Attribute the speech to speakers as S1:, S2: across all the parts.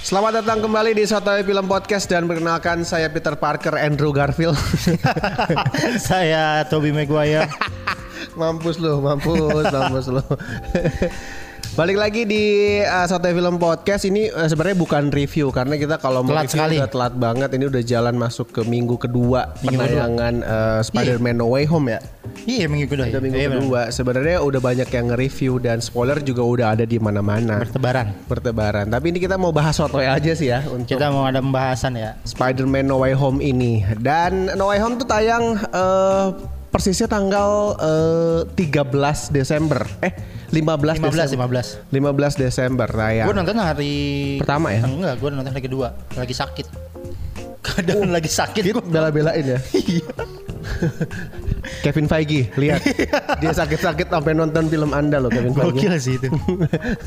S1: Selamat datang kembali di Sotoy Film Podcast dan perkenalkan saya Peter Parker Andrew Garfield.
S2: Saya Toby Maguire.
S1: mampus lu, mampus, mampus lu. Balik lagi di uh, Sotoy Film Podcast ini uh, sebenarnya bukan review karena kita kalau mau
S2: Telat
S1: review
S2: sekali.
S1: udah telat banget. Ini udah jalan masuk ke minggu kedua penayangan uh, Spider-Man No Way Home ya.
S2: Iya minggu kedua.
S1: Udah minggu
S2: Iya, benar.
S1: kedua. Sebenarnya udah banyak yang nge-review dan spoiler juga udah ada di mana-mana.
S2: Bertebaran.
S1: Bertebaran. Tapi ini kita mau bahas Sotoy aja sih ya untuk
S2: Kita mau ada pembahasan ya.
S1: Spider-Man No Way Home ini dan No Way Home tuh tayang eh, persisnya tanggal eh, 13 Desember eh 15
S2: 15,
S1: Desember
S2: 15.
S1: 15 Desember Nah, ya. tayang
S2: Gue nonton hari
S1: Pertama ya?
S2: Enggak, gue nonton hari kedua. Lagi sakit.
S1: Oh,
S2: Keadaan lagi sakit.
S1: Kit
S2: gua. Iya.
S1: bela-belain ya Kevin Feige lihat dia sakit-sakit sampai nonton film Anda loh Kevin
S2: Iya.
S1: Feige
S2: Gokil sih itu.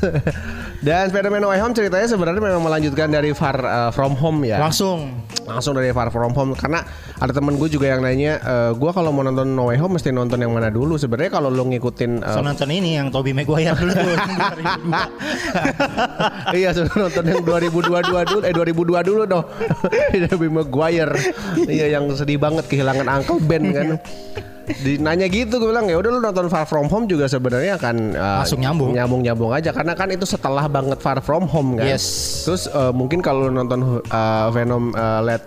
S1: dan Spider-Man No Way Home ceritanya sebenarnya memang melanjutkan dari Far eh, From Home ya
S2: Langsung.
S1: langsung dari Far From Home karena ada temen gue juga yang nanya "Eh, gue kalau mau nonton No Way Home mesti nonton yang mana dulu sebenarnya kalau lo ngikutin eh,
S2: So nonton ini yang Toby Maguire dulu.
S1: iya sudah nonton yang 2022 dulu eh 2002 dulu dong Tobey Maguire iya yang sedih banget kehilangan Uncle Ben kan
S2: Iya.
S1: dinanya gitu gue bilang ya udah lu nonton Far From Home juga sebenarnya akan eh,
S2: Langsung nyambung.
S1: nyambung nyambung aja karena kan itu setelah banget Far From Home kan
S2: Yes.
S1: terus eh, mungkin kalau lu nonton eh, Venom eh, Let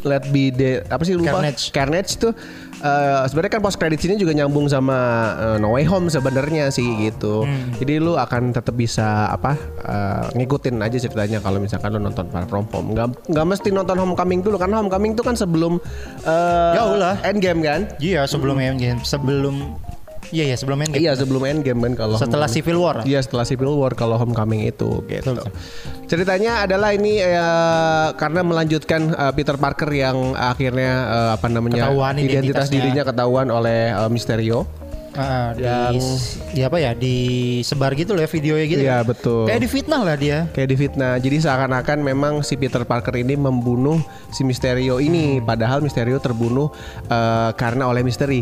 S1: Let Be The apa sih lupa
S2: Carnage.
S1: Carnage tuh eh, sebenarnya kan post credits ini juga nyambung sama eh, No Way Home sebenarnya sih gitu.
S2: Hmm.
S1: Jadi lu akan tetap bisa apa eh, ngikutin aja ceritanya kalau misalkan lu nonton Far From Home. Nggak nggak mesti nonton Homecoming dulu karena Homecoming tuh kan sebelum eh,
S2: Jauh lah.
S1: Endgame kan?
S2: Iya sebelum Endgame. Sebelum. Iya iya sebelum Endgame.
S1: Iya sebelum Endgame kan kalau
S2: Setelah
S1: Homecoming.
S2: Civil War.
S1: Iya setelah Civil War kalau Homecoming itu gitu. Ceritanya adalah ini eh, karena melanjutkan eh, Peter Parker yang akhirnya eh, apa namanya
S2: Ketahuan
S1: identitas
S2: identitasnya.
S1: dirinya ketahuan oleh eh, Misterio.
S2: Ah, di,
S1: Yang-
S2: di apa ya disebar gitu loh ya videonya gitu.
S1: Iya,
S2: ya.
S1: betul.
S2: Kayak difitnah lah dia.
S1: Kayak difitnah. Jadi seakan-akan memang si Peter Parker ini membunuh si Misterio ini, padahal Misterio terbunuh eh, karena oleh misteri.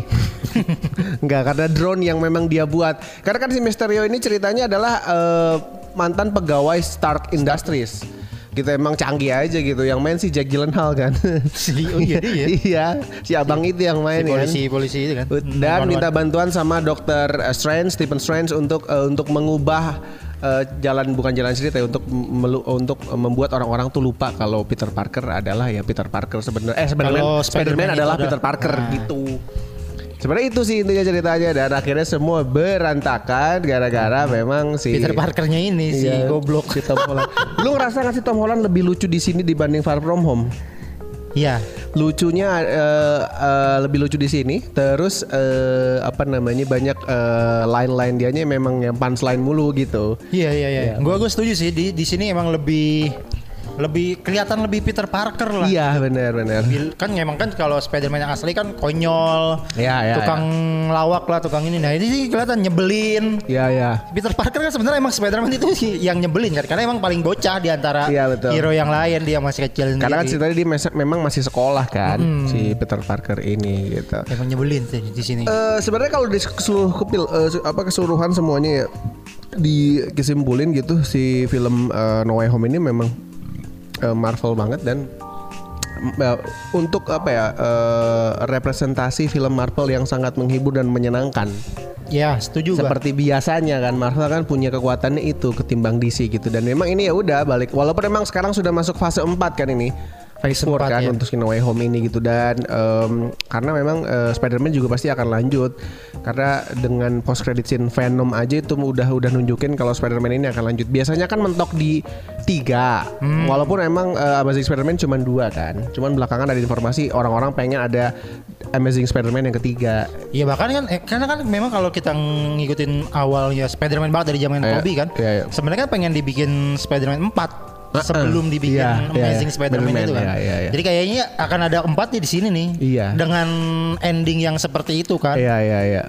S1: Enggak, karena drone yang memang dia buat. Karena kan si Misterio ini ceritanya adalah eh, mantan pegawai Stark Industries. Kita emang canggih aja gitu. Yang main si Jack Gyllenhaal kan.
S2: Si- oh iya, dia ya?
S1: Iya, si abang itu yang
S2: Si
S1: main kan.
S2: polisi polisi itu kan.
S1: Dan minta
S2: Wan-wan.
S1: bantuan sama Dokter eh, Strange, Stephen Strange untuk eh, untuk mengubah eh, jalan bukan jalan cerita ya, untuk melu- untuk membuat orang-orang tuh lupa kalau Peter Parker adalah ya Peter Parker sebenarnya. Eh sebenarnya
S2: Kalau
S1: Spider-Man,
S2: Spider-Man itu
S1: adalah
S2: adalah-
S1: Peter Parker
S2: Nah.
S1: gitu. Sebenarnya itu sih intinya ceritanya dan akhirnya semua berantakan gara-gara memang si
S2: Hmm. Peter Parkernya ini si
S1: Iya,
S2: goblok.
S1: si Tom Holland. Lu ngerasa nggak sih Tom Holland lebih lucu di sini dibanding Far From Home?
S2: Iya.
S1: lucunya eh, eh, lebih lucu di sini terus eh, apa namanya banyak eh, line-line dianya memang yang punchline mulu gitu
S2: Iya iya iya. Gua gua setuju sih di di sini emang lebih lebih kelihatan lebih Peter Parker lah.
S1: iya benar benar
S2: Bil- Kan emang kan kalau Spider-Man yang asli kan konyol,
S1: Iya, iya,
S2: tukang lawak lah, tukang ini. Nah ini sih kelihatan nyebelin.
S1: iya ya
S2: Peter Parker kan sebenarnya emang Spider-Man itu sih yang nyebelin kan karena emang paling bocah di antara
S1: Iya, betul.
S2: hero yang lain dia masih kecil sendiri.
S1: karena kan ceritanya dia mes- memang masih sekolah kan si Peter Parker ini gitu
S2: emang nyebelin sih di sini.
S1: Eh, sebenarnya kalau di seluruh kepil eh, se- apa keseluruhan semuanya ya dikesimpulin gitu si film eh, No Way Home ini memang eh, Marvel banget dan mm, eh, untuk apa ya eh, representasi film Marvel yang sangat menghibur dan menyenangkan
S2: ya, setuju gua.
S1: seperti biasanya kan Marvel kan punya kekuatannya itu ketimbang DC gitu dan memang ini ya udah balik walaupun memang sekarang sudah masuk fase 4 kan ini Phase 4 kan
S2: ya.
S1: untuk No Way Home ini gitu dan em, karena memang eh, Spider-Man juga pasti akan lanjut karena dengan post credit scene Venom aja itu udah udah nunjukin kalau Spider-Man ini akan lanjut biasanya kan mentok di tiga
S2: Hmm.
S1: walaupun emang eh, Amazing Spider-Man cuma dua kan cuman belakangan ada informasi orang-orang pengen ada Amazing Spider-Man yang ketiga
S2: Iya bahkan kan eh, karena kan memang kalau kita ngikutin awalnya Spider-Man banget dari zaman
S1: Iya,
S2: Tobey kan.
S1: iya, iya.
S2: Sebenarnya kan pengen dibikin Spider-Man 4. sebelum dibikin
S1: Iya, iya,
S2: Amazing
S1: iya.
S2: Spider-Man
S1: Spider-Man,
S2: itu kan.
S1: iya, iya, iya.
S2: Jadi kayaknya akan ada empatnya di sini nih.
S1: Iya.
S2: Dengan ending yang seperti itu kan.
S1: Iya iya iya.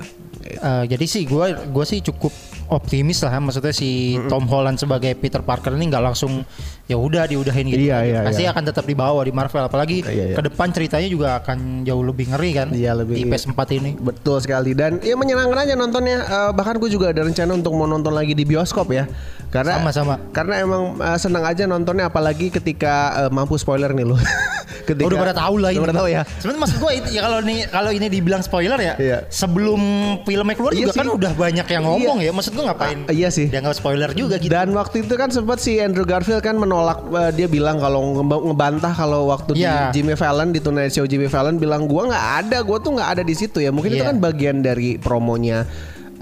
S2: Eh, jadi sih gue gua sih cukup optimis lah maksudnya si Tom Holland sebagai Peter Parker ini nggak langsung ya udah diudahin gitu
S1: Iya, iya,
S2: pasti
S1: iya.
S2: akan tetap dibawa di Marvel apalagi
S1: Iya, iya.
S2: ke depan ceritanya juga akan jauh lebih ngeri kan
S1: Iya, lebih-
S2: di PS4 ini
S1: Betul sekali dan ya menyenangkan aja nontonnya. Eh, bahkan gue juga ada rencana untuk mau nonton lagi di bioskop ya. Karena
S2: Sama-sama.
S1: Karena emang eh, senang aja nontonnya apalagi ketika eh, mampu spoiler nih lo. ketika
S2: Oh, udah pada tahu lah
S1: Udah
S2: ini.
S1: pada tahu ya.
S2: Sebenarnya maksud gue itu ya kalau ini kalau ini dibilang spoiler ya.
S1: Iya.
S2: Sebelum filmnya keluar
S1: Iya
S2: juga
S1: sih. Iya.
S2: kan udah banyak yang ngomong ya. Maksud gue ngapain?
S1: Ah, iya sih.
S2: Dianggap spoiler juga gitu.
S1: Dan waktu itu kan sempat si Andrew Garfield kan menolak eh, dia bilang kalau nge- ngebantah kalau waktu
S2: Iya.
S1: di Jimmy Fallon di Tonight Show Jimmy Fallon bilang gua nggak ada, gua tuh nggak ada di situ ya. Mungkin itu
S2: Iya.
S1: kan bagian dari promonya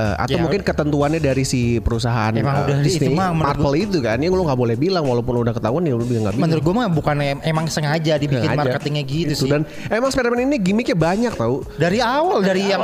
S1: eh, atau
S2: Iya.
S1: mungkin ketentuannya dari si perusahaan
S2: Emang
S1: eh,
S2: udah di-
S1: Disney
S2: itu mah menurut
S1: Marvel itu kan yang lu nggak boleh bilang walaupun udah ketahuan ya lu juga nggak bilang.
S2: Menurut gue mah bukan em- emang sengaja dibikin
S1: Nggak ada.
S2: marketingnya gitu
S1: Itu.
S2: sih.
S1: Dan emang Spider-Man ini gimmicknya banyak tau.
S2: dari awal dari yang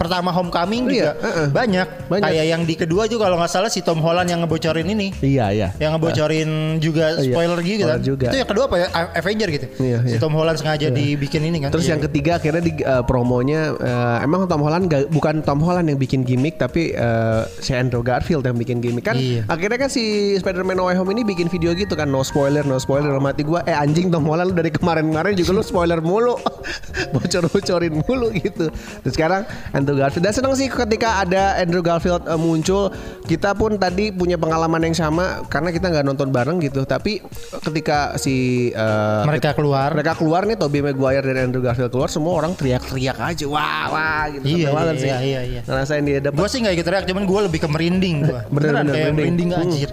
S2: pertama Homecoming juga
S1: Iya, eh, eh.
S2: banyak.
S1: Banyak.
S2: Kayak yang di kedua juga kalau nggak salah si Tom Holland yang ngebocorin ini.
S1: Iya iya.
S2: yang ngebocorin juga
S1: Iya,
S2: spoiler gitu kan.
S1: spoiler juga.
S2: Itu yang kedua apa ya? A- Avenger gitu.
S1: Iya,
S2: si
S1: iya.
S2: Tom Holland sengaja dibikin ini kan.
S1: Terus
S2: Iya.
S1: yang ketiga akhirnya di eh, promonya eh, emang Tom Holland ga- bukan Tom Holland yang bikin gimmick tapi eh, si Andrew Garfield yang bikin gimmick kan.
S2: Iya.
S1: Akhirnya kan si Spider-Man No Way Home ini bikin video gitu kan no spoiler no spoiler dalam hati gua eh anjing Tom Holland lu dari kemarin-kemarin juga lu spoiler mulu. Bocor-bocorin mulu gitu. Terus sekarang Andrew Garfield dan seneng sih ketika ada Andrew Garfield eh, muncul kita pun tadi punya pengalaman yang sama karena kita nggak nonton bareng gitu tapi ketika si eh,
S2: mereka keluar
S1: mereka keluar nih Tobey Maguire dan Andrew Garfield keluar semua orang teriak-teriak aja wah wah
S2: Iya,
S1: gitu Sampai
S2: iya,
S1: banget
S2: iya, iya, iya.
S1: ngerasain dia dapat
S2: Gue sih gak ikut teriak, cuman gue lebih ke merinding gue.
S1: Bener,
S2: Beneran
S1: bener,
S2: kayak
S1: merinding.
S2: merinding,
S1: Hmm.
S2: anjir.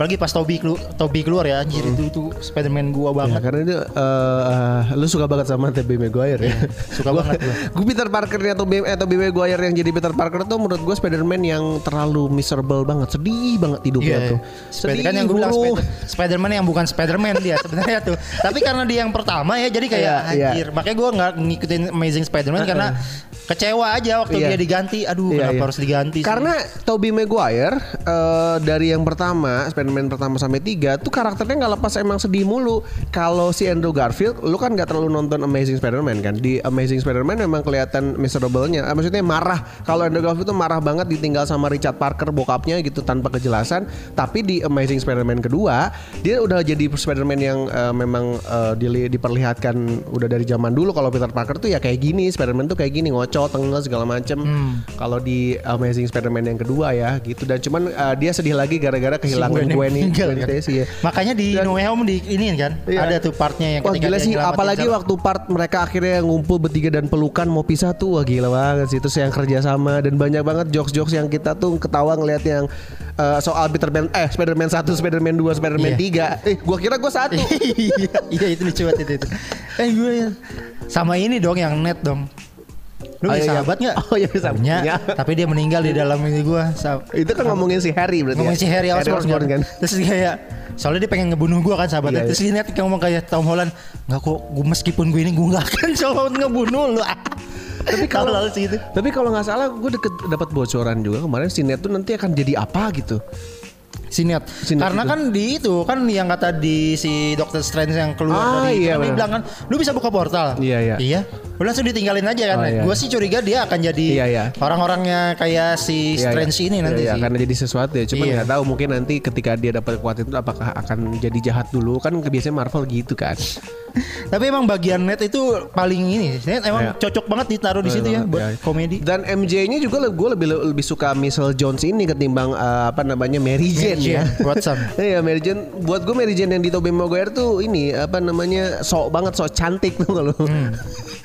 S2: Apalagi pas Toby, kelu- Toby keluar ya, anjir itu tuh Spiderman gue
S1: Ya,
S2: banget.
S1: karena itu eh, lu suka banget sama Tobey Maguire
S2: Iya,
S1: ya.
S2: suka banget gua.
S1: gue Peter Parker nih atau Tobey eh, Tobey Maguire yang jadi Peter Parker tuh menurut gue Spider-Man yang terlalu miserable banget, sedih banget hidupnya
S2: Iya,
S1: tuh.
S2: Spider kan yang gue bilang
S1: hulu.
S2: Spider- Spiderman yang bukan Spiderman dia sebenarnya tuh. Tapi karena dia yang pertama ya, jadi kayak
S1: Iya, iya.
S2: anjir. Makanya gue nggak ngikutin Amazing Spiderman karena kecewa aja waktu
S1: Iya.
S2: dia diganti. Aduh,
S1: Iya,
S2: kenapa
S1: iya.
S2: harus diganti? sih?
S1: Karena Tobey Maguire eh, dari yang pertama Spider-Man pertama sampai tiga tuh karakternya nggak lepas emang sedih mulu. Kalau si Andrew Garfield, lu kan nggak terlalu nonton Amazing Spider-Man kan? Di Amazing Spider-Man memang kelihatan miserable-nya. Eh, maksudnya marah. Kalau Andrew Garfield tuh marah banget ditinggal sama Richard Parker bokapnya gitu tanpa kejelasan. Tapi di Amazing Spider-Man kedua, dia udah jadi Spider-Man yang eh, memang eh, dili- diperlihatkan udah dari zaman dulu kalau Peter Parker tuh ya kayak gini, Spider-Man tuh kayak gini, ngocok, tengah segala macem
S2: Hmm.
S1: kalau di Amazing Spider-Man yang kedua ya gitu dan cuman uh, dia sedih lagi gara-gara
S2: Gwen
S1: kehilangan
S2: yang
S1: Gwen
S2: meninggal,
S1: Gwen
S2: kan?
S1: Stacy ya.
S2: Makanya di
S1: Dan-
S2: No Way Home di ini kan
S1: Iya.
S2: ada tuh partnya yang
S1: Wah
S2: ketika
S1: gila
S2: dia
S1: sih
S2: nyelamatin
S1: apalagi
S2: Sarah.
S1: waktu part mereka akhirnya ngumpul bertiga dan pelukan mau pisah tuh wah gila banget sih terus yang kerja sama dan banyak banget jokes-jokes yang kita tuh ketawa ngelihat yang uh, soal Spider-Man eh Spider-Man 1, Spider-Man 2, Spider-Man
S2: Iya.
S1: 3. Eh gua kira gua satu.
S2: iya, iya itu lucu banget itu. itu. Eh gue ya. Sama ini dong yang net dong. Lu punya
S1: Oh, iya, iya.
S2: sahabat nggak?
S1: Oh, iya, punya sahabat.
S2: Punya,
S1: Punya.
S2: Tapi dia meninggal di dalam ini gue.
S1: Itu kan ngomongin si Harry berarti.
S2: Ngomongin
S1: ya?
S2: si Harry Osborn,
S1: Osborn
S2: kan.
S1: kan.
S2: Terus dia kayak soalnya dia pengen ngebunuh gue kan sahabatnya.
S1: Iya,
S2: Terus dia net ngomong kayak Tom Holland, nggak kok gue meskipun gue ini gue nggak akan coba ngebunuh lu. Tapi
S1: kalau-
S2: lalu sih itu.
S1: Tapi kalau nggak salah gue deket dapat bocoran juga kemarin si Ned tuh nanti akan jadi apa gitu.
S2: Sinet.
S1: Sinet
S2: Karena
S1: itu.
S2: kan di itu kan yang kata di si Dr. Strange yang
S1: Ah,
S2: keluar dari itu
S1: iya,
S2: kan dia
S1: benar.
S2: bilang kan lu bisa buka portal.
S1: Iya, iya.
S2: Iya. Lu langsung ditinggalin aja kan.
S1: Oh, iya.
S2: Gue sih curiga dia akan jadi
S1: Iya, iya.
S2: orang-orangnya kayak si
S1: Iya,
S2: Strange
S1: iya.
S2: ini
S1: Iya,
S2: nanti
S1: iya,
S2: sih.
S1: karena jadi sesuatu ya. Cuman
S2: Iya.
S1: nggak tahu mungkin nanti ketika dia dapat kekuatan itu apakah akan jadi jahat dulu kan biasanya Marvel gitu kan.
S2: Tapi emang bagian net itu paling ini. Net emang
S1: Iya.
S2: cocok banget ditaruh di situ ya buat
S1: Iya.
S2: komedi.
S1: Dan MJ-nya juga gue lebih lebih suka Michelle Jones ini ketimbang eh, apa namanya Mary Jane,
S2: Mary
S1: ya.
S2: Jane Watson.
S1: Iya Mary Jane. Buat gue Mary Jane yang di Tobey Maguire tuh ini apa namanya sok banget sok cantik tuh kalau.
S2: Hmm.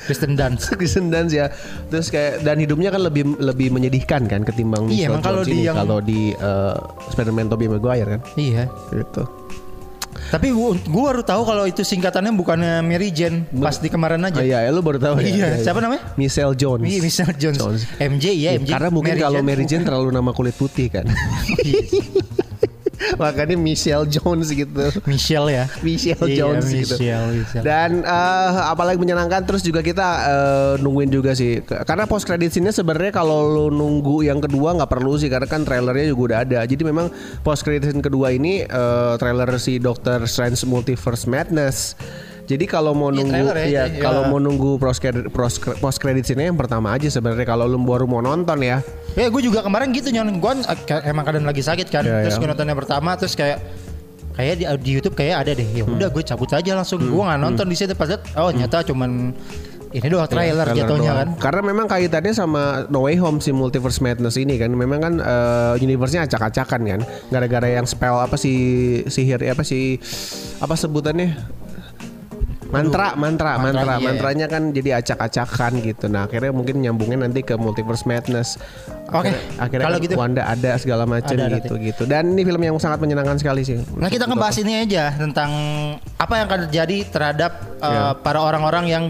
S2: Kristen Dunst.
S1: Kristen Dunst ya. Terus kayak dan hidupnya kan lebih lebih menyedihkan kan ketimbang
S2: Iya,
S1: Michelle
S2: emang kalau
S1: Jones
S2: di
S1: ini,
S2: yang-
S1: kalau di eh, Spider-Man Tobey Maguire kan
S2: Iya.
S1: gitu.
S2: Tapi gua, gua baru tahu kalau itu singkatannya bukannya Mary Jane pas di kemarin aja.
S1: Ah, iya, lu baru tahu. ya?
S2: Iya, siapa namanya?
S1: Michelle Jones.
S2: Iya, Michelle Jones. MJ ya, MJ.
S1: Karena mungkin kalau Mary Jane
S2: bukan.
S1: terlalu nama kulit putih kan.
S2: Iya.
S1: Makanya Michelle Jones gitu.
S2: Michelle ya.
S1: Michelle
S2: Iya,
S1: Jones gitu.
S2: Michelle, Michelle.
S1: Dan eh, apalagi menyenangkan terus juga kita eh, nungguin juga sih. Ke- Karena post credit scene-nya sebenarnya kalau lu nunggu yang kedua nggak perlu sih karena kan trailernya juga udah ada. Jadi memang post credit scene kedua ini eh, trailer si Doctor Strange Multiverse Madness. Jadi kalau mau
S2: Iya,
S1: nunggu
S2: trailer ya,
S1: ya,
S2: iya.
S1: kalau mau nunggu post credit post, cre- post credit scene-nya yang pertama aja sebenarnya kalau lu baru mau nonton ya.
S2: Ya gue juga kemarin gitu nyon gue emang keadaan lagi sakit kan.
S1: Iya,
S2: terus
S1: iya.
S2: gue nonton yang pertama terus kayak kayak di, di YouTube kayak ada deh. Ya
S1: Hmm.
S2: udah gue cabut aja langsung. Gue nggak nonton di situ pas liat, oh ternyata cuman ini doang trailer jatuhnya
S1: Iya, doang.
S2: kan.
S1: Karena memang kaitannya sama No Way Home si Multiverse Madness ini kan memang kan eh, universe-nya acak-acakan kan. Gara-gara yang spell apa si sihir apa si apa sebutannya Mantra,
S2: mantra,
S1: mantra, mantra,
S2: iya.
S1: mantranya kan jadi acak-acakan gitu. Nah akhirnya mungkin nyambungnya nanti ke Multiverse Madness.
S2: Oke,
S1: Akhirnya- akhirnya
S2: kalau
S1: kan
S2: gitu.
S1: Wanda ada segala macam
S2: Ada, ada.
S1: gitu gitu. Dan ini film yang sangat menyenangkan sekali sih.
S2: Nah kita ngebahas ini aja tentang apa yang akan terjadi terhadap uh,
S1: Iya.
S2: para orang-orang yang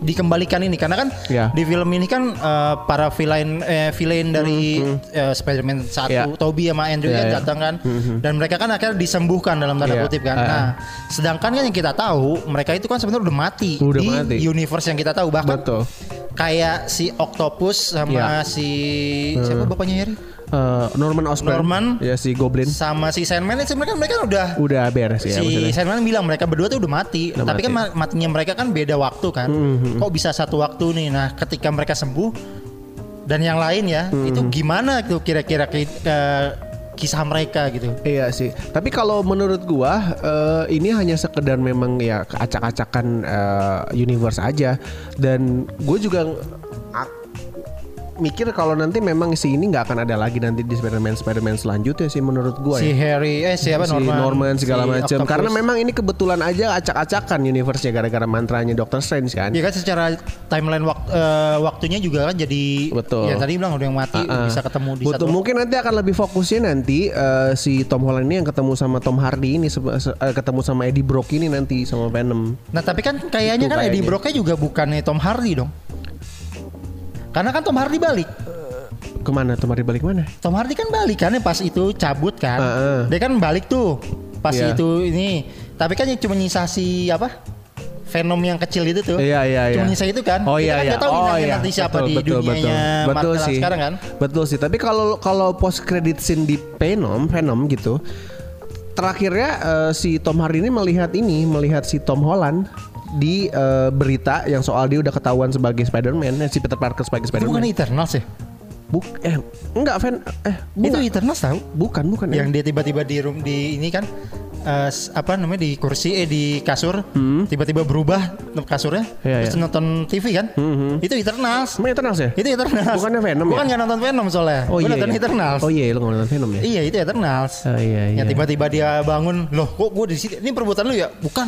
S2: dikembalikan ini karena kan
S1: Iya. Hmm,
S2: di film ini kan uh, para villain eh, villain dari eh, Spider-Man 1
S1: Iya.
S2: Toby sama Andrew
S1: Iya,
S2: kan
S1: iya.
S2: datang kan dan mereka kan akhirnya disembuhkan dalam tanda
S1: Iya.
S2: kutip kan.
S1: Eh,
S2: Nah, sedangkan kan yang kita tahu mereka itu kan sebenarnya udah mati
S1: Udah
S2: di
S1: mati.
S2: universe yang kita tahu bahkan
S1: Betul. Iya.
S2: kayak si Octopus sama si
S1: Hmm.
S2: siapa bapaknya Harry
S1: Eh, Norman Osborn,
S2: Norman.
S1: ya si Goblin
S2: sama si Sandman itu mereka mereka udah
S1: udah beres ya
S2: si
S1: maksudnya.
S2: Sandman bilang mereka berdua tuh udah mati.
S1: Udah
S2: Tapi kan ma-
S1: mati. Hmm,
S2: matinya mereka kan beda waktu kan. Kok bisa satu waktu nih? Nah, ketika mereka sembuh dan yang lain ya,
S1: Hmm,
S2: itu gimana tuh kira-kira ki- ke- kisah mereka gitu.
S1: Iya sih. Tapi kalau menurut gua eh, ini hanya sekedar memang ya acak-acakan eh, universe aja dan gue juga ak- mikir kalau nanti memang si ini nggak akan ada lagi nanti di Spider-Man Spider-Man selanjutnya sih menurut gua
S2: Si
S1: ya.
S2: Harry eh siapa
S1: si Norman, segala
S2: si
S1: macam.
S2: Octopus.
S1: Karena memang ini kebetulan aja acak-acakan universe-nya gara-gara mantranya Doctor Strange kan.
S2: Ya kan secara timeline wak- eh, waktunya juga kan jadi
S1: Betul.
S2: Ya tadi bilang udah yang mati
S1: Ah, ah.
S2: bisa ketemu di
S1: Betul,
S2: satu
S1: mungkin nanti akan lebih fokusnya nanti eh, si Tom Holland ini yang ketemu sama Tom Hardy ini sebe- se- eh, ketemu sama Eddie Brock ini nanti sama Venom.
S2: Nah tapi kan kayaknya
S1: Itu
S2: kan Eddie
S1: Gitu kayaknya.
S2: Brocknya juga bukannya Tom Hardy dong. Karena kan Tom Hardy balik.
S1: Kemana Tom Hardy balik mana?
S2: Tom Hardy kan balik kan ya pas itu cabut kan.
S1: Heeh.
S2: Dia kan balik tuh pas
S1: Iya.
S2: itu ini. Tapi kan yang cuma nyisa si apa? Venom yang kecil itu tuh.
S1: Iya iya iya.
S2: Cuma nyisa itu kan.
S1: Oh
S2: Kita
S1: iya
S2: kan
S1: iya.
S2: nggak tahu
S1: oh
S2: bintangnya nanti siapa di dunianya
S1: betul. Betul
S2: Marvel
S1: sih.
S2: sekarang kan.
S1: Betul sih. Tapi kalau kalau post credit scene di Venom, Venom gitu. Terakhirnya eh, si Tom Hardy ini melihat ini, melihat si Tom Holland di eh, berita yang soal dia udah ketahuan sebagai Spider-Man, eh, si Peter Parker sebagai
S2: Itu bukan
S1: Spider-Man.
S2: Eternals ya?
S1: Buk eh enggak Ven eh
S2: Itu
S1: bukan.
S2: Eternals tahu?
S1: bukan bukan
S2: Yang dia tiba-tiba di room di ini kan eh, s- apa namanya di kursi eh di kasur tiba-tiba berubah kasurnya
S1: Hmm. Iya,
S2: terus
S1: iya.
S2: nonton TV kan itu Eternals
S1: Emang Eternals ya?
S2: itu Eternals
S1: Bukannya Venom ya?
S2: bukan nggak nonton Venom soalnya Gua
S1: Oh iya.
S2: nonton
S1: iya.
S2: Eternals
S1: Oh iya, lu nggak nonton Venom ya?
S2: Iya itu Eternals.
S1: Oh, iya,
S2: Yang
S1: iya.
S2: tiba-tiba dia bangun, loh kok gue di sini? Ini perbuatan lu ya? Bukan.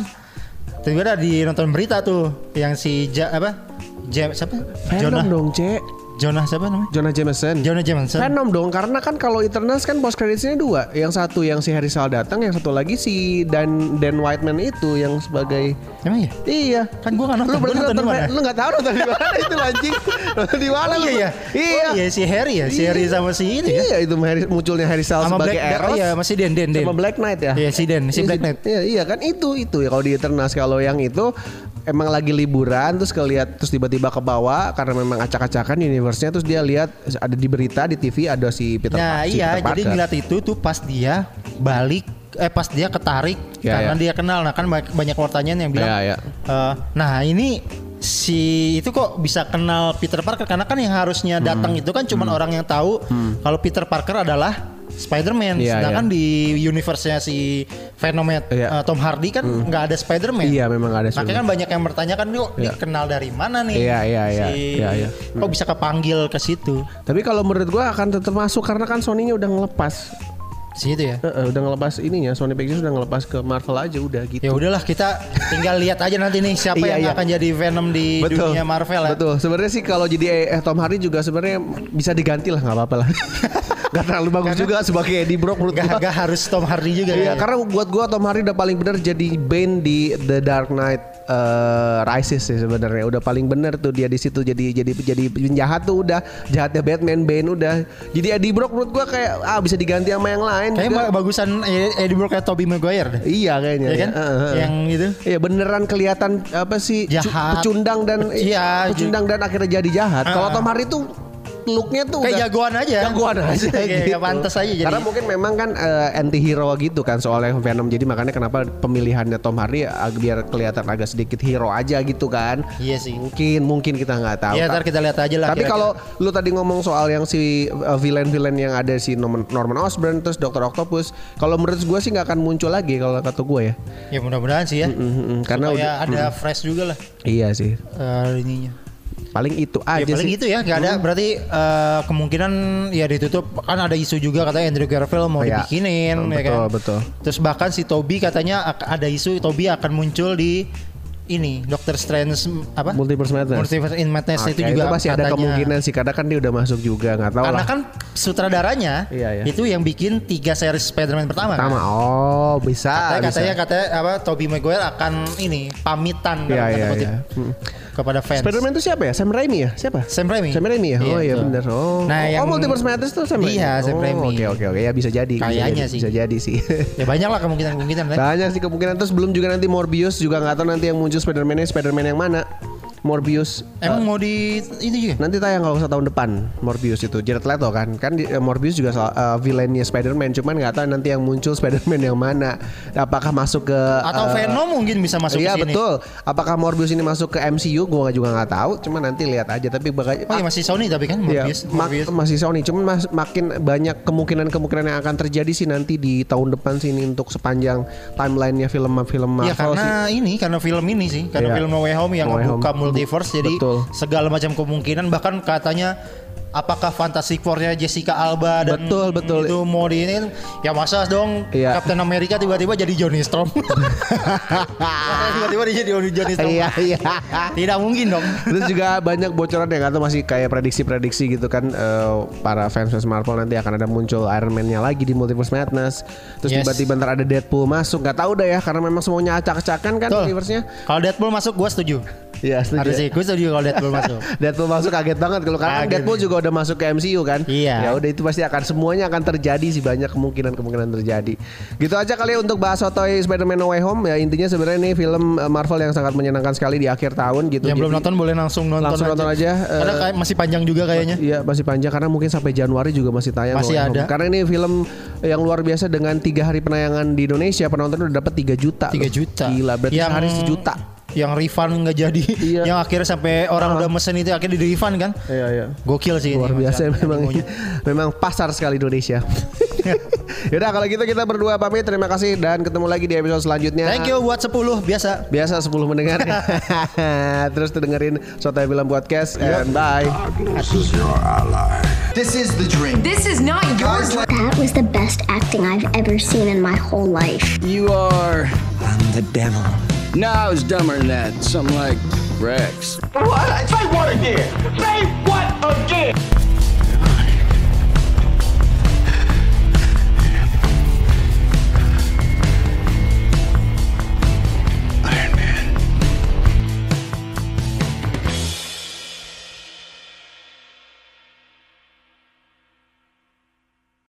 S2: Tiba-tiba ada di nonton berita tuh yang si ja, apa? Jam siapa?
S1: Venom
S2: Jonah.
S1: dong, Cek.
S2: Jonah siapa namanya?
S1: Jonah Jameson.
S2: Jonah Jameson.
S1: Venom dong karena kan kalau Eternals kan post creditsnya dua yang satu yang si Harry Sal datang yang satu lagi si Dan Dan Whiteman itu yang sebagai
S2: Emang ya?
S1: iya
S2: Kan gua nggak nonton.
S1: lu berarti
S2: Gua nonton
S1: nonton
S2: di mana?
S1: lu nggak tahu nonton di mana itu anjing nonton di mana lu?
S2: iya ya.
S1: iya
S2: Oh, iya si Harry ya, si Harry sama si ini ya.
S1: iya itu Harry- munculnya Harry Sal
S2: Sama
S1: sebagai
S2: Black
S1: Eros
S2: Iya, masih Den Den Den.
S1: sama Black Knight ya
S2: Iya, si Den, si
S1: Iya,
S2: Black Knight.
S1: Iya, iya kan itu itu ya kalau di Eternals kalau yang itu emang lagi liburan terus kelihat terus tiba-tiba ke bawah karena memang acak-acakan universe-nya terus dia lihat ada di berita di TV ada si Peter
S2: Nah
S1: Parker. si
S2: iya,
S1: Peter
S2: jadi
S1: Parker.
S2: ngeliat itu tuh pas dia balik, eh pas dia ketarik
S1: Ya,
S2: karena
S1: ya.
S2: dia kenal. Nah kan banyak, banyak wartawan yang bilang,
S1: Ya, ya.
S2: "Eh, nah ini si itu kok bisa kenal Peter Parker karena kan yang harusnya
S1: Hmm.
S2: datang itu kan cuman orang yang tahu kalau Peter Parker adalah Spider-Man.
S1: Ya,
S2: Sedangkan di universe-nya si Venom
S1: Ya.
S2: Tom Hardy kan nggak ada Spider-Man.
S1: Iya, memang nggak ada
S2: Makanya kan banyak yang bertanyakan, "Kok dia kenal dari mana nih?"
S1: Iya, iya, iya.
S2: Si,
S1: Iya, iya.
S2: Kok bisa kepanggil ke situ?
S1: Tapi kalau menurut gua akan tetap masuk karena kan Sony-nya udah ngelepas
S2: Situ ya.
S1: Eh, eh, udah ngelepas ininya Sony Pictures udah ngelepas ke Marvel aja udah gitu.
S2: Ya udahlah kita tinggal lihat aja nanti nih siapa yang
S1: Iya, iya.
S2: akan jadi Venom di dunia Marvel ya.
S1: Betul. Sebenarnya sih kalau jadi eh, Tom Hardy juga sebenarnya bisa diganti lah nggak apa-apa lah. Gak terlalu bagus juga sebagai Eddie Brock menurut
S2: Gak,
S1: gua.
S2: gak harus Tom Hardy juga ya.
S1: Iya, karena buat gua Tom Hardy udah paling bener jadi Bane di The Dark Knight eh, Rises sih sebenarnya. Udah paling bener tuh dia di situ jadi jadi jadi penjahat tuh udah jahatnya Batman Bane udah. Jadi Eddie Brock menurut gua kayak ah bisa diganti sama yang lain.
S2: Kayaknya
S1: juga.
S2: malah bagusan
S1: E-
S2: Eddie Brock kayak Tobey Maguire deh.
S1: Iya kayaknya.
S2: Iya kan?
S1: Heeh, heeh.
S2: Yang itu.
S1: Iya beneran kelihatan apa sih cu-
S2: Jahat.
S1: pecundang dan eh,
S2: Iya,
S1: pecundang dan akhirnya jadi jahat. Kalau
S2: Heeh.
S1: Tom Hardy tuh looknya tuh
S2: Kayak
S1: udah-
S2: jagoan aja.
S1: jagoan aja
S2: Kayak
S1: gitu.
S2: pantas aja jadi.
S1: Karena mungkin memang kan anti hero gitu kan soalnya Venom jadi makanya kenapa pemilihannya Tom Hardy ag- biar kelihatan agak sedikit hero aja gitu kan.
S2: Iya sih.
S1: Mungkin mungkin kita nggak tahu.
S2: Ya ntar kita lihat aja lah.
S1: Tapi
S2: kira-kira.
S1: kalau lu tadi ngomong soal yang si uh, villain-villain yang ada si Norman, Norman Osborn terus Dr. Octopus, kalau menurut gue sih nggak akan muncul lagi kalau kata gue ya.
S2: ya mudah-mudahan sih ya.
S1: Mm-mm, karena
S2: Supaya
S1: udah- mm.
S2: ada fresh juga lah
S1: iya sih.
S2: eh, ininya.
S1: Paling itu
S2: Ya
S1: aja
S2: paling
S1: sih. Mm-hmm.
S2: itu ya, nggak ada berarti eh, kemungkinan ya ditutup kan ada isu juga katanya Andrew Garfield mau
S1: Iya.
S2: dibikinin ya kan.
S1: Betul, betul.
S2: Terus bahkan si Toby katanya ak- ada isu Toby akan muncul di ini Doctor Strange apa?
S1: Multiverse Madness.
S2: Multiverse in Madness
S1: Ah,
S2: itu
S1: kayak
S2: juga
S1: pasti ada
S2: katanya.
S1: kemungkinan sih karena kan dia udah masuk juga nggak tahu
S2: Karena
S1: lah.
S2: kan sutradaranya
S1: Iya, iya.
S2: itu yang bikin tiga seri Spider-Man pertama.
S1: Pertama,
S2: Kan?
S1: oh bisa.
S2: Katanya,
S1: bisa.
S2: Nah, katanya katanya apa Toby Maguire akan ini pamitan
S1: Iya,
S2: dalam tanda
S1: iya,
S2: kutip,
S1: iya. Mm.
S2: kepada fans.
S1: Spider-Man itu siapa ya? Sam Raimi ya? Siapa?
S2: Sam Raimi.
S1: Sam Raimi ya? Oh iya
S2: betul.
S1: bener Oh,
S2: Nah,
S1: oh,
S2: yang-
S1: Multiverse Madness tuh Sam Raimi?
S2: Iya, Sam
S1: Oh,
S2: Raimi.
S1: Oke oke oke ya bisa jadi bisa
S2: Kayaknya
S1: jadi,
S2: sih.
S1: Bisa jadi sih
S2: Ya banyak lah kemungkinan-kemungkinan. kan?
S1: Banyak sih kemungkinan Terus belum juga nanti Morbius Juga nggak tahu nanti yang muncul Spider-Man-nya Spider-Man yang mana Morbius
S2: Emang mau di ini juga?
S1: Nanti tayang kalau nggak salah tahun depan Morbius itu Jared Leto kan kan di- eh, Morbius juga soal, eh, villainnya Spider-Man cuman nggak tahu nanti yang muncul Spider-Man yang mana apakah masuk ke
S2: Atau
S1: eh,
S2: Venom mungkin bisa masuk
S1: iya
S2: ke sini.
S1: betul apakah Morbius ini masuk ke MCU gua juga nggak tahu cuman nanti lihat aja tapi bakal
S2: Oh, iya, masih Sony tapi kan
S1: Iya,
S2: Morbius.
S1: mak-
S2: Morbius.
S1: masih Sony, cuman mas- makin banyak kemungkinan-kemungkinan yang akan terjadi sih nanti di tahun depan sih ini untuk sepanjang timelinenya film-film Marvel
S2: Ya karena
S1: sih.
S2: ini karena film ini sih, karena
S1: Iya.
S2: film No Way Home yang
S1: No Way
S2: membuka
S1: Home.
S2: multiverse jadi
S1: Betul.
S2: segala macam kemungkinan bahkan katanya apakah Fantastic Four-nya Jessica Alba dan
S1: Betul, betul.
S2: itu mau di ini ya masa dong
S1: Iya.
S2: Captain America tiba-tiba jadi Johnny Storm. Masa tiba-tiba dia jadi Johnny Storm.
S1: Iya, iya.
S2: Tidak mungkin dong.
S1: Terus juga banyak bocoran yang atau masih kayak prediksi-prediksi gitu kan eh, para fans fans Marvel nanti akan ada muncul Iron Man-nya lagi di Multiverse Madness. Terus
S2: Yes.
S1: tiba-tiba ntar ada Deadpool masuk, nggak tahu dah ya karena memang semuanya acak-acakan kan
S2: Betul.
S1: universe-nya.
S2: Kalau Deadpool masuk gua setuju.
S1: Iya, setuju.
S2: Harus sih, gua setuju kalau Deadpool masuk.
S1: Deadpool masuk kaget banget kalau karena kan
S2: Kaget.
S1: Deadpool juga udah masuk ke MCU kan.
S2: Iya.
S1: Ya udah itu pasti akan semuanya akan terjadi sih banyak kemungkinan-kemungkinan terjadi. Gitu aja kali ya untuk bahas Sotoy Spider-Man No Way Home ya intinya sebenarnya ini film eh, Marvel yang sangat menyenangkan sekali di akhir tahun gitu.
S2: Yang belum
S1: Jadi-
S2: nonton boleh langsung nonton
S1: Langsung nonton aja, eh.
S2: Karena kayak masih panjang juga kayaknya.
S1: Iya masih panjang karena mungkin sampai Januari juga masih tayang.
S2: Masih
S1: No Way
S2: ada.
S1: Home. Karena ini film yang luar biasa dengan tiga hari penayangan di Indonesia penonton udah dapat 3 juta.
S2: 3
S1: loh.
S2: juta.
S1: Gila berarti
S2: Yang-
S1: sehari sejuta.
S2: Yang refund nggak jadi.
S1: Iya.
S2: Yang akhirnya sampai orang udah mesen itu akhirnya di refund kan.
S1: Iya iya.
S2: Gokil sih
S1: Luar
S2: ini.
S1: biasa
S2: Mas.
S1: memang
S2: Animonya.
S1: memang pasar sekali Indonesia. Yaudah kalau gitu kita berdua pamit terima kasih dan ketemu lagi di episode selanjutnya.
S2: Thank you buat 10 biasa.
S1: Biasa 10 mendengar. Terus dengerin Sotai Film Podcast and bye.
S3: Darkness is your ally.
S4: This is the dream.
S5: This is not yours.
S6: That was the best acting I've ever seen in my whole life.
S7: You are.
S4: I'm the devil.
S7: No, I was dumber than that. Something like Rex.
S8: What? Say what again? Say what again?